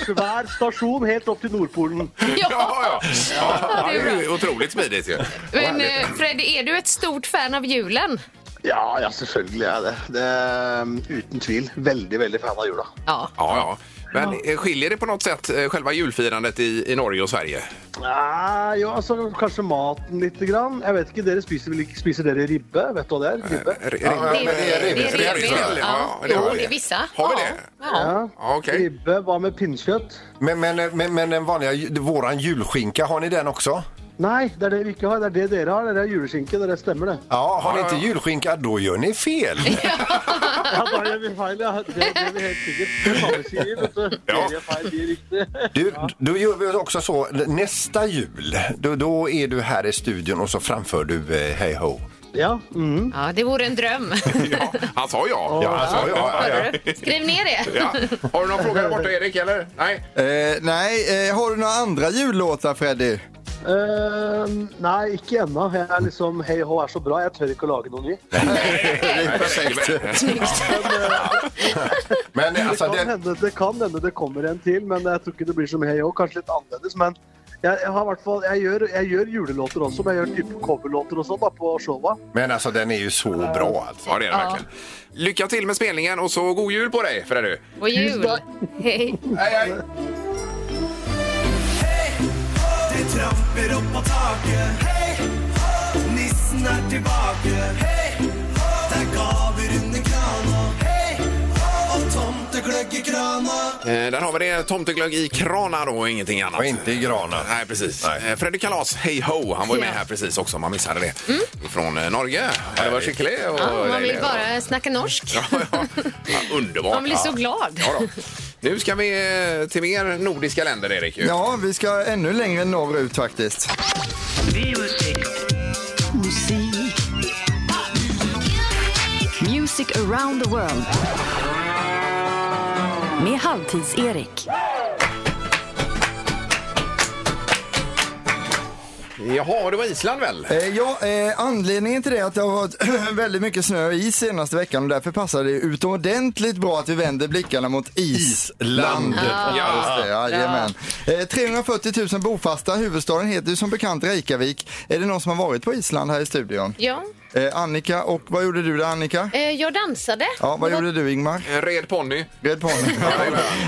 [SPEAKER 7] svær stasjon helt opp till Nordpolen.
[SPEAKER 2] Ja, ja. ja, det är ju otroligt smidigt ju.
[SPEAKER 4] Men eh, Fred, är du ett stort fan av julen?
[SPEAKER 11] Ja, ja, selvfølgelig er jeg det. det
[SPEAKER 7] um,
[SPEAKER 11] er uten tvil. Veldig, veldig fan av jula.
[SPEAKER 4] Ja.
[SPEAKER 2] Ja, ja. Men eh, skiljer det på något sätt eh, själva julfirandet i, i Norge och Sverige?
[SPEAKER 7] Nei, jo, altså, Kanskje maten lite grann. Jeg vet ikke, dere spiser vel ikke Spiser dere ribbe? Vet du hva det er?
[SPEAKER 3] Eh,
[SPEAKER 7] Ribbe?
[SPEAKER 2] men det är
[SPEAKER 4] Det
[SPEAKER 2] rimligt.
[SPEAKER 4] är
[SPEAKER 2] Det är
[SPEAKER 4] rimligt.
[SPEAKER 2] rimligt.
[SPEAKER 4] Ja,
[SPEAKER 2] Ja, det har
[SPEAKER 4] jo,
[SPEAKER 2] vi.
[SPEAKER 4] det är vissa.
[SPEAKER 2] Har vi
[SPEAKER 4] Ja.
[SPEAKER 2] det?
[SPEAKER 4] Ja.
[SPEAKER 2] Ja, okej.
[SPEAKER 7] Ribbe, hva med pinnkjøtt?
[SPEAKER 3] Men, men, men, men den vanliga, ju- våran julskinka, har ni den också?
[SPEAKER 7] Nei, det er det vi ikke har. Det er det dere har. Dere har juleskinke. Dere stemmer det.
[SPEAKER 3] Ja, har ni inte julskinka, då gör ni fel.
[SPEAKER 7] Ja, da gjør vi feil, ja. Det, det er vi helt sikkert. Det er mange sier, vet du. Dere gjør feil, vi er riktig.
[SPEAKER 3] Du, då gör vi också så, nästa jul, då, då är du här i studion och så framför du eh, Hey Ho.
[SPEAKER 7] Ja. mhm.
[SPEAKER 4] Ja, det vore en dröm.
[SPEAKER 2] Ja, han sa ja.
[SPEAKER 3] Ja, alltså, ja, ja,
[SPEAKER 4] Hörde du? Skriv ner det.
[SPEAKER 2] ja. Har du någon fråga där borta, Erik? Eller? Nej?
[SPEAKER 8] Eh, nej, eh, har du några andra jullåtar Freddy?
[SPEAKER 7] Eh, nei, ikke ennå. Jeg er liksom Hei hå er så bra. Jeg tør ikke å lage noe ny.
[SPEAKER 2] Nej, perfekt.
[SPEAKER 3] Men eh,
[SPEAKER 7] Det
[SPEAKER 3] alltså,
[SPEAKER 7] kan,
[SPEAKER 3] det,
[SPEAKER 7] hende, det kan hende det kommer en til, men jeg tror ikke det blir som Hei hå. Kanskje litt annerledes, men jeg, jeg, har i hvert fall, jeg, gjør, jeg gjør julelåter også, men typ jeg gjør type coverlåter og sånn da, på showa.
[SPEAKER 3] men alltså den är ju så bra alltså.
[SPEAKER 2] Ja, det är det verkligen. Lycka till med spelningen och så god jul på dig, Freddy.
[SPEAKER 4] God jul. Hej.
[SPEAKER 2] Hej, hej.
[SPEAKER 9] Det tramper opp på taket. Hei, hå! nissen er tilbake. Hei, hå! det er gaver under krana. Hei, hå! og tomtegløgg i krana.
[SPEAKER 2] Eh, Där har vi det. Tomteglögg i kranar och ingenting annat.
[SPEAKER 3] Och inte i granen.
[SPEAKER 2] Nej, precis. Eh, Freddy Kalas, hej ho. Han var ju med här precis också om man missade det. Från eh, Norge. Ja, det var skicklig och
[SPEAKER 4] Mm. Ja, man vill
[SPEAKER 2] dejlig.
[SPEAKER 4] bara snacka norsk.
[SPEAKER 2] Ja, ja. Ja, underbart.
[SPEAKER 4] Man blir så glad.
[SPEAKER 2] Ja, då. Nu ska vi eh, till mer nordiska länder, Erik. ju.
[SPEAKER 8] Ja, vi ska ännu längre norrut faktiskt.
[SPEAKER 1] Music around the world. Med Halvtids-Erik.
[SPEAKER 2] Jaha, det var Island väl?
[SPEAKER 8] Eh, ja, eh, anledningen till det är att det har varit väldigt mycket snö och is senaste veckan och därför passar det utomordentligt bra att vi vänder blickarna mot Island.
[SPEAKER 2] Ah.
[SPEAKER 8] Ja, just det, ja, jajamän. eh, 340 000 bofasta, huvudstaden heter ju som bekant Reykjavik. Är det någon som har varit på Island här i studion?
[SPEAKER 4] Ja,
[SPEAKER 8] Eh, Annika, och vad gjorde du där Annika?
[SPEAKER 4] eh, jag dansade.
[SPEAKER 8] Ja, vad gjorde du Ingmar?
[SPEAKER 2] En Eh, red ponny.
[SPEAKER 8] Red pony.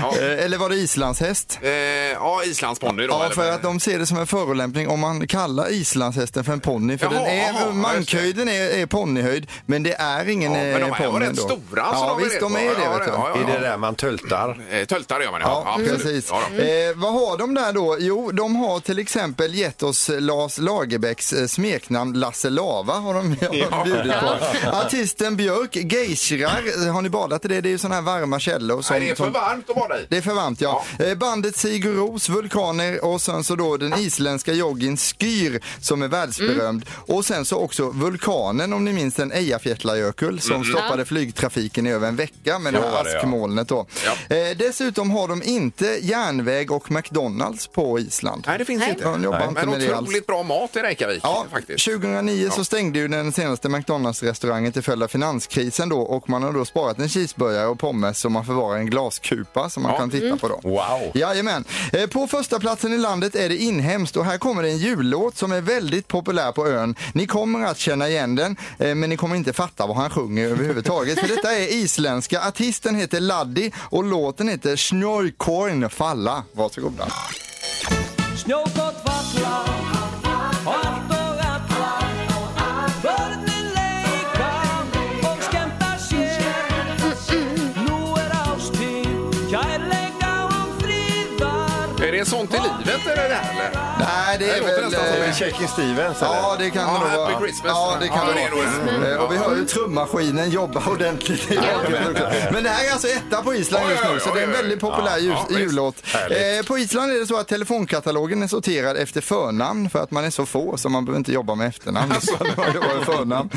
[SPEAKER 2] Ja.
[SPEAKER 8] Eh, Eller var det islandshäst?
[SPEAKER 2] Eh, ja, islandsponny då.
[SPEAKER 8] Ja,
[SPEAKER 2] eller?
[SPEAKER 8] för att de ser det som en förolämpning om man kallar islandshästen för en ponny. För
[SPEAKER 2] Jaha,
[SPEAKER 8] den är,
[SPEAKER 2] jaha, ja, just det.
[SPEAKER 8] mankhöjden är, är ponnyhöjd, men det är ingen
[SPEAKER 2] Ja,
[SPEAKER 8] ja,
[SPEAKER 2] men de här var
[SPEAKER 8] ponny.
[SPEAKER 2] rätt
[SPEAKER 8] då.
[SPEAKER 2] stora, så
[SPEAKER 8] Ja,
[SPEAKER 2] de är
[SPEAKER 8] visst,
[SPEAKER 2] rätt-
[SPEAKER 8] de är
[SPEAKER 2] ja,
[SPEAKER 8] det. Vet du.
[SPEAKER 2] ja, ja.
[SPEAKER 3] Är det där man töltar?
[SPEAKER 2] Eh, Töltar gör man ja.
[SPEAKER 8] Ja,
[SPEAKER 2] absolut.
[SPEAKER 8] precis.
[SPEAKER 2] Ja, då.
[SPEAKER 8] eh, vad har de där då? Jo, de har till exempel gett oss eh, Lars Lagerbäcks eh, smeknamn Lasse Lava har de, har de bjudit på. Artisten Björk, geishrar, har ni badat i det? Det är ju sådana här varma källor. Som,
[SPEAKER 2] Nej, det är för
[SPEAKER 8] som-
[SPEAKER 2] varmt att vara i.
[SPEAKER 8] Det är för varmt ja. Eh, Bandet Sigur Ros, Vulkaner och sen så då den isländska joggin Skyr som är världsberömd. Och sen så också Vulkanen om ni minns den, Eyjafjallajökull som stoppade flygtrafiken i över en vecka med det här
[SPEAKER 3] det, ja.
[SPEAKER 8] askmolnet då.
[SPEAKER 2] Ja.
[SPEAKER 8] Eh, dessutom har de inte järnväg och McDonalds på Island.
[SPEAKER 2] Nej, det finns
[SPEAKER 4] Nej.
[SPEAKER 2] inte.
[SPEAKER 8] De jobbar
[SPEAKER 2] Nej.
[SPEAKER 8] inte
[SPEAKER 2] Men
[SPEAKER 8] med det alls.
[SPEAKER 2] otroligt bra mat i Reykjavik
[SPEAKER 8] Ja,
[SPEAKER 2] faktiskt.
[SPEAKER 8] 2009 så stängde ju den senaste McDonalds-restaurangen till följd av finanskrisen då och man har då sparat en cheeseburgare och pommes som man förvarar i en glaskupa som man
[SPEAKER 2] Ja.
[SPEAKER 8] kan titta på då.
[SPEAKER 3] Wow.
[SPEAKER 8] Jajamän. Eh, På första platsen i landet är det inhemskt och här kommer det en jullåt som är väldigt populär på ön. Ni kommer att känna igen den eh, men ni kommer inte fatta vad han sjunger överhuvudtaget för detta är isländska. Artisten heter Laddi och låten heter Snorkorn falla. Varsågoda.
[SPEAKER 9] Snjókott falla og allt og alla Börnin leika og skemmta sér Nú er ástíð, kærleika og fríðar
[SPEAKER 2] Är det sånt i livet eller det här? Eller?
[SPEAKER 8] Nej, Nej, det är
[SPEAKER 3] låter
[SPEAKER 8] väl...
[SPEAKER 3] nästan som
[SPEAKER 8] eh,
[SPEAKER 3] en Shaking Stevens.
[SPEAKER 8] Ja, det kan det nog vara. Ja, det kan det vara. Eh, Och vi hör ju trummaskinen jobba ordentligt i bakgrunden också. Men det här är alltså etta på Island just nu, så det är en väldigt populär jul-
[SPEAKER 3] Ja, ja, visst.
[SPEAKER 8] jullåt.
[SPEAKER 3] Härligt.
[SPEAKER 8] Eh, På Island är det så att telefonkatalogen är sorterad efter förnamn för att man är så få så man behöver inte jobba med efternamn. Så man jobbar med förnamn.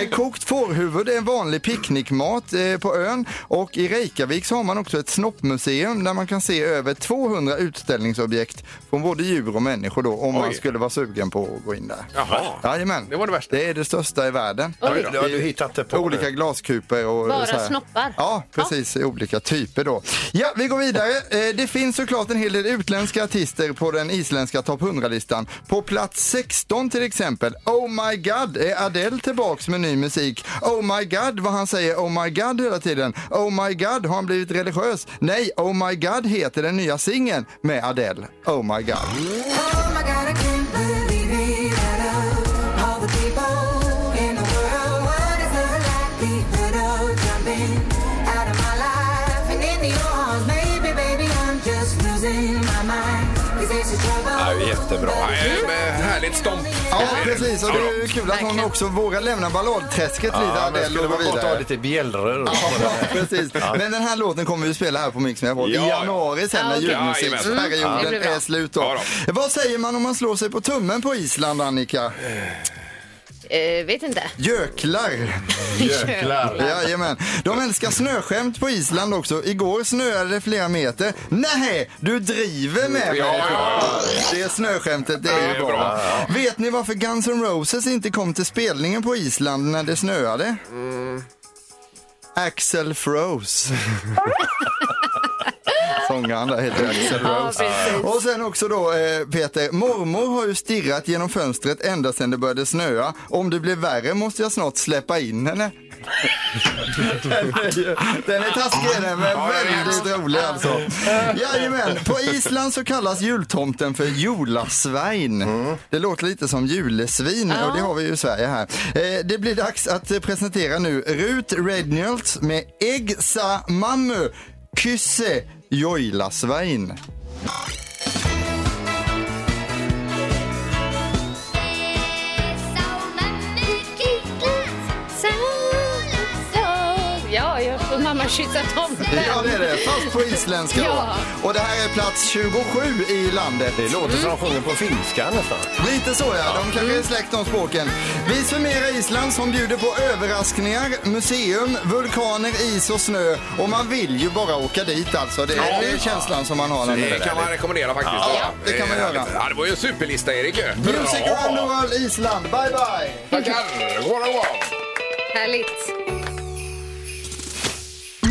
[SPEAKER 8] Eh, Kokt fårhuvud är en vanlig picknickmat eh, på ön och i Reykjavik så har man också ett snoppmuseum där man kan se över 200 utställningsobjekt från både djur och människor då om man
[SPEAKER 3] Oj.
[SPEAKER 8] skulle vara sugen på att gå in där.
[SPEAKER 2] Jaha.
[SPEAKER 8] Jajamän. Det var det värsta. Det är det största i världen.
[SPEAKER 3] Oj då. Det har du hittat det på nu.
[SPEAKER 8] Olika glaskuper och
[SPEAKER 4] Bara
[SPEAKER 8] så här.
[SPEAKER 4] snoppar.
[SPEAKER 8] Ja, precis. i Olika typer då. Ja, vi går vidare. Eh, Det finns såklart en hel del utländska artister på den isländska topp 100-listan. På plats 16 till exempel, Oh My God, är Adele tillbaks med ny musik. Oh My God, vad han säger Oh My God hela tiden. Oh My God, har han blivit religiös? Nej, Oh My God heter den nya singeln med Adele. Oh My God.
[SPEAKER 2] Ja, jättebra. Ja, eh, härligt stomp.
[SPEAKER 8] Ja, precis. Och det är ju kul att hon också vågar lämna balladträsket lite,
[SPEAKER 3] Ja, men det
[SPEAKER 8] Adele,
[SPEAKER 3] skulle
[SPEAKER 8] och gå
[SPEAKER 3] vara gott att ha
[SPEAKER 8] vidare.
[SPEAKER 3] lite bjällror. och
[SPEAKER 8] Ja,
[SPEAKER 3] sådär.
[SPEAKER 8] precis.
[SPEAKER 3] Ja.
[SPEAKER 8] Men den här låten kommer vi spela här på Mix Megapol
[SPEAKER 3] Ja,
[SPEAKER 8] i
[SPEAKER 3] ja.
[SPEAKER 8] januari sen när
[SPEAKER 3] Ja, okej.
[SPEAKER 8] julmusiksperioden
[SPEAKER 3] Ja, det blir bra.
[SPEAKER 8] är slut. Då. Vad säger man om man slår sig på tummen på Island, Annika?
[SPEAKER 4] Eh, vet inte.
[SPEAKER 8] Göklar.
[SPEAKER 4] Göklar.
[SPEAKER 8] Jajamän. De älskar snöskämt på Island också. Igår snöade det flera meter. Nej, du driver med mig!
[SPEAKER 7] Ja, ja,
[SPEAKER 8] Det är snöskämtet, det är ju bra. Vet ni varför Guns N' Roses inte kom till spelningen på Island när det snöade? Axel Froze. Sångaren där heter Axel
[SPEAKER 7] Ja,
[SPEAKER 8] Rose.
[SPEAKER 7] precis.
[SPEAKER 8] och sen också då eh, Peter, mormor har ju stirrat genom fönstret ända sedan det började snöa. Om det blir värre måste jag snart släppa in henne. den, är, ju- den är taskig är den, men väldigt rolig alltså. Jajamän, på Island så kallas jultomten för jolasvein. Det låter lite som julesvin och det har vi ju i Sverige här. Eh, det blir dags att eh, presentera nu Rut Reynolds med Egg sa mammu kysse joilasvein.
[SPEAKER 4] Ja, jag får mamma kyssa tomten.
[SPEAKER 8] Ja, det är det. Fast på isländska.
[SPEAKER 4] Ja.
[SPEAKER 8] då. Och det här är plats 27 i landet. Det
[SPEAKER 3] låter som de sjunger på finska nästan.
[SPEAKER 8] Lite så, ja. De kanske är släkt de språken. Vi summerar Island som bjuder på överraskningar, museum, vulkaner, is och snö. Och man vill ju bara åka dit alltså. Det är, det är känslan som man har när man är
[SPEAKER 2] Det
[SPEAKER 8] där.
[SPEAKER 2] kan man rekommendera faktiskt.
[SPEAKER 8] Ja, det kan man
[SPEAKER 2] är
[SPEAKER 8] göra.
[SPEAKER 2] härligt. Ja, det var ju en superlista, Erik. ju.
[SPEAKER 8] Music
[SPEAKER 2] Bra.
[SPEAKER 8] around the world, Island. Bye, bye!
[SPEAKER 2] Tackar! God morgon!
[SPEAKER 4] Härligt.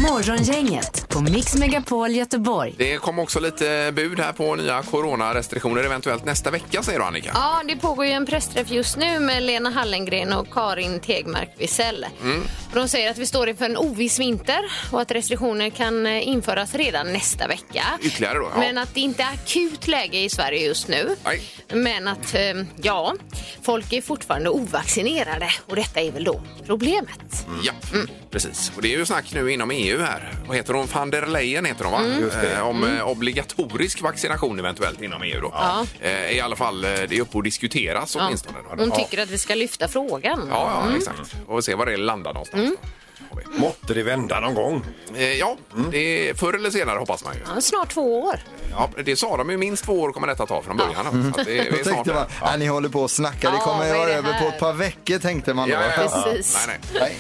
[SPEAKER 1] Morgongänget på Mix Megapol Göteborg.
[SPEAKER 2] Det kom också lite bud här på nya coronarestriktioner eventuellt nästa vecka, säger du Annika.
[SPEAKER 4] Ja, det pågår ju en pressträff just nu med Lena Hallengren och Karin Tegmark Wisell. Mm. Och De säger att vi står inför en oviss vinter och att restriktioner kan eh, införas redan nästa vecka.
[SPEAKER 2] Ytterligare då, ja.
[SPEAKER 4] Men att det inte är akut läge i Sverige just nu. Men att, eh, ja, folk är fortfarande ovaccinerade och detta är väl då problemet.
[SPEAKER 2] Ja, Mm. precis. Och det är ju snack nu inom EU här. Vad heter hon? Van der Leyen heter hon, va?
[SPEAKER 4] Mm. Just det.
[SPEAKER 2] Eh, om
[SPEAKER 4] Mm.
[SPEAKER 2] eh, obligatorisk vaccination eventuellt inom EU då.
[SPEAKER 4] Ja.
[SPEAKER 2] Eh, I alla fall, eh, det är uppe och diskuteras åtminstone. då.
[SPEAKER 4] Hon tycker att vi ska lyfta frågan.
[SPEAKER 2] Ja, ja
[SPEAKER 4] Mm.
[SPEAKER 2] exakt. Och se var det landar någonstans.
[SPEAKER 4] Mm.
[SPEAKER 2] Måtte det vända någon gång. Eh, ja, det är förr eller senare hoppas man ju.
[SPEAKER 4] Mm. Ja, snart två år.
[SPEAKER 2] Ja, det sa de ju, minst två år kommer detta ta från början.
[SPEAKER 8] Mm.
[SPEAKER 2] Så att det,
[SPEAKER 8] Då
[SPEAKER 2] vi är snart
[SPEAKER 8] tänkte man,
[SPEAKER 2] där.
[SPEAKER 8] ja. ni håller på och snackar, det
[SPEAKER 2] Ja,
[SPEAKER 8] kommer
[SPEAKER 2] vad är
[SPEAKER 8] jag
[SPEAKER 2] det
[SPEAKER 8] över på ett par veckor tänkte man då.
[SPEAKER 2] Ja, ja, ja. Nej, nej.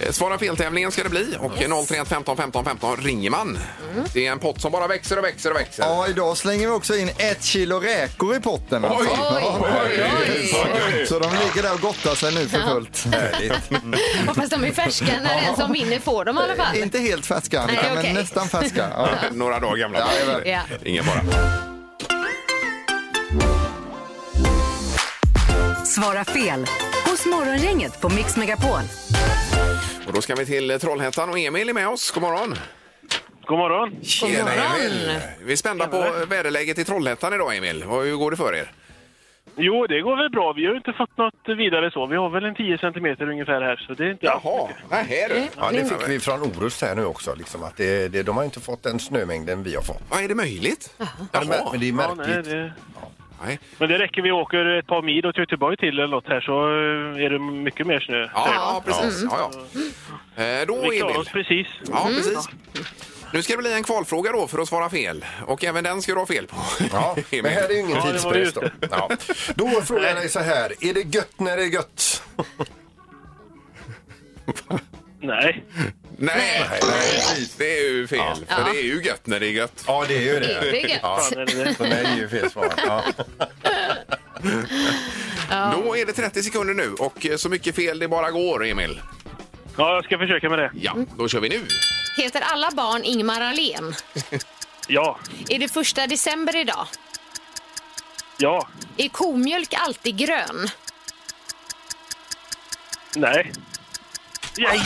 [SPEAKER 2] Eh, Svara fel-tävlingen ska det bli och 031 15 15 15 ringer man.
[SPEAKER 4] Mm.
[SPEAKER 2] Det är en pott som bara växer och växer och växer.
[SPEAKER 8] Ja, idag slänger vi också in ett kilo räkor i potten. Alltså.
[SPEAKER 2] Oj,
[SPEAKER 8] Ja.
[SPEAKER 2] oj, oj.
[SPEAKER 8] Så de ligger där och gottar sig nu för fullt.
[SPEAKER 4] Hoppas de är färska när den som vinner får dem i alla fall.
[SPEAKER 8] Inte helt färska,
[SPEAKER 4] Nej,
[SPEAKER 8] men
[SPEAKER 4] okej.
[SPEAKER 8] nästan färska. Ja.
[SPEAKER 2] Några dagar gamla.
[SPEAKER 8] Ja, jajamän.
[SPEAKER 4] Ja.
[SPEAKER 2] Ingen bara.
[SPEAKER 1] Svara fel hos Morgongänget på Mix Megapol.
[SPEAKER 2] Och då ska vi till Trollhättan och Emil är med oss. God morgon! God morgon!
[SPEAKER 1] God
[SPEAKER 2] Tjena
[SPEAKER 1] morgon.
[SPEAKER 2] Emil! Vi är spända på väderläget i Trollhättan idag Emil. Vad- Hur går det för er?
[SPEAKER 5] Jo, det går väl bra. Vi har ju inte fått något vidare så. Vi har väl en 10 centimeter ungefär här, så det är inte
[SPEAKER 2] Jaha, nej du.
[SPEAKER 3] Ja, det fick vi från Orust här nu också. Liksom, att det, det, de har inte fått den snömängden vi har fått.
[SPEAKER 2] Ja, är det möjligt? Jaha.
[SPEAKER 3] Men det är märkligt.
[SPEAKER 5] det... Men det räcker vi åker ett par mil åt Göteborg till eller något här så eh, är det mycket mer snö.
[SPEAKER 2] Ja, ja, Mm. precis. Ja, ja. Eh, då,
[SPEAKER 5] Vi klarar
[SPEAKER 2] Emil.
[SPEAKER 5] oss precis.
[SPEAKER 2] Ja, precis. Nu ska det bli en kvalfråga då för att svara fel. Och även den ska du ha fel på. Ja,
[SPEAKER 3] Men här är ju ingen tidspress. Då. Ja. då frågar jag dig så här. Är det gött när det är gött?
[SPEAKER 5] Nej.
[SPEAKER 2] Nej, nej, precis. Det är ju fel.
[SPEAKER 3] Ja.
[SPEAKER 2] För det är ju gött när det är gött.
[SPEAKER 3] Ja, det är ju det.
[SPEAKER 7] Är det gött?
[SPEAKER 2] Ja.
[SPEAKER 7] Fan, är det det?
[SPEAKER 3] Så nej är ju fel svar. Ja.
[SPEAKER 2] Då är det 30 sekunder nu och eh, så mycket fel det bara går, Emil.
[SPEAKER 5] Ja, jag ska försöka med det.
[SPEAKER 2] Ja,
[SPEAKER 3] Mm.
[SPEAKER 2] då kör vi nu.
[SPEAKER 4] Heter alla barn Ingmar Ahlén?
[SPEAKER 5] Ja,
[SPEAKER 4] Är det första december idag?
[SPEAKER 5] ja,
[SPEAKER 4] Är komjölk alltid grön?
[SPEAKER 5] nej. Aj,
[SPEAKER 2] aj,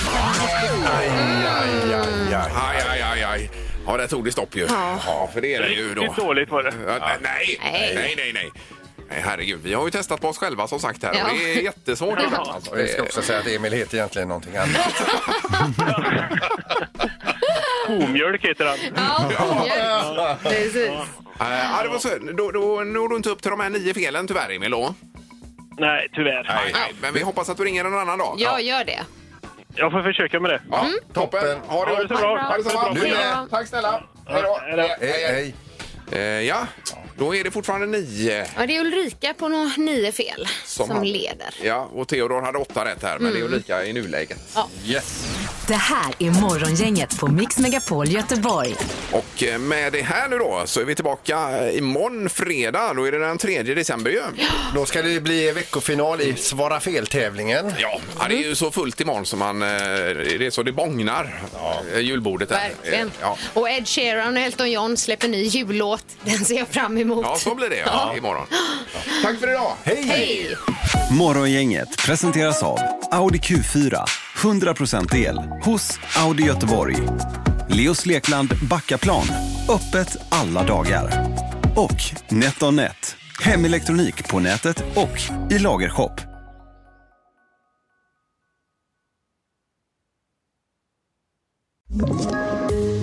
[SPEAKER 2] aj, aj, aj, aj, aj. Ja, där tog det stopp ju.
[SPEAKER 5] Ja.
[SPEAKER 2] Ja, för det är det ju då.
[SPEAKER 5] Riktigt dåligt var det.
[SPEAKER 2] Ja, nej, nej, nej, nej, nej. Nej, herregud. Vi har ju testat på oss själva som sagt här
[SPEAKER 5] Ja.
[SPEAKER 2] och det är jättesvårt.
[SPEAKER 5] Ja.
[SPEAKER 2] ibland, alltså.
[SPEAKER 3] Jag ska också säga att Emil heter egentligen någonting annat.
[SPEAKER 5] Komjölk heter han.
[SPEAKER 2] Ja.
[SPEAKER 4] Precis.
[SPEAKER 2] Eh, Ja, det var så. Då, då når du inte upp till de här nio felen tyvärr, Emil. Då.
[SPEAKER 5] Nej, tyvärr.
[SPEAKER 2] Nej, nej. Men vi hoppas att du ringer en annan dag.
[SPEAKER 4] Jag gör det.
[SPEAKER 5] Jag får försöka med det.
[SPEAKER 2] Ja, Toppen. Ha det,
[SPEAKER 5] Ha det så bra.
[SPEAKER 2] Ha det så bra.
[SPEAKER 5] Ha det
[SPEAKER 2] Du
[SPEAKER 5] bra.
[SPEAKER 2] med. Mm. Tack snälla. Hej då.
[SPEAKER 3] Hej,
[SPEAKER 2] hej. Eh, Ja, då är det fortfarande nio.
[SPEAKER 4] Ja, det är Ulrika på nå- nio fel
[SPEAKER 2] Som
[SPEAKER 4] som,
[SPEAKER 2] han-
[SPEAKER 4] leder.
[SPEAKER 2] Ja, och Theodor hade åtta rätt här, men det är ju lika i nuläget.
[SPEAKER 4] Ja.
[SPEAKER 2] Yes.
[SPEAKER 1] Det här är Morgongänget på Mix Megapol Göteborg.
[SPEAKER 2] Och eh, med det här nu då så är vi tillbaka eh, imorgon fredag. Då är det den 3 december ju.
[SPEAKER 3] Då ska det bli veckofinal i Svara fel-tävlingen.
[SPEAKER 2] Ja, ja, det är ju så fullt imorgon som man... eh, Det är så det bångnar, eh, julbordet. Där.
[SPEAKER 4] Verkligen.
[SPEAKER 2] Eh, Ja.
[SPEAKER 4] Och Ed Sheeran och Elton John släpper ny jullåt. Den ser jag fram emot.
[SPEAKER 2] ja, så blir det ja, imorgon. Tack för idag!
[SPEAKER 4] Hej!
[SPEAKER 12] Morgongänget presenteras av Audi Q4. 100% el hos Audi Göteborg. Leos Lekland Backaplan. Öppet alla dagar. Och NetOnNet. Hemelektronik på nätet och i lagershop.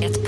[SPEAKER 13] Ett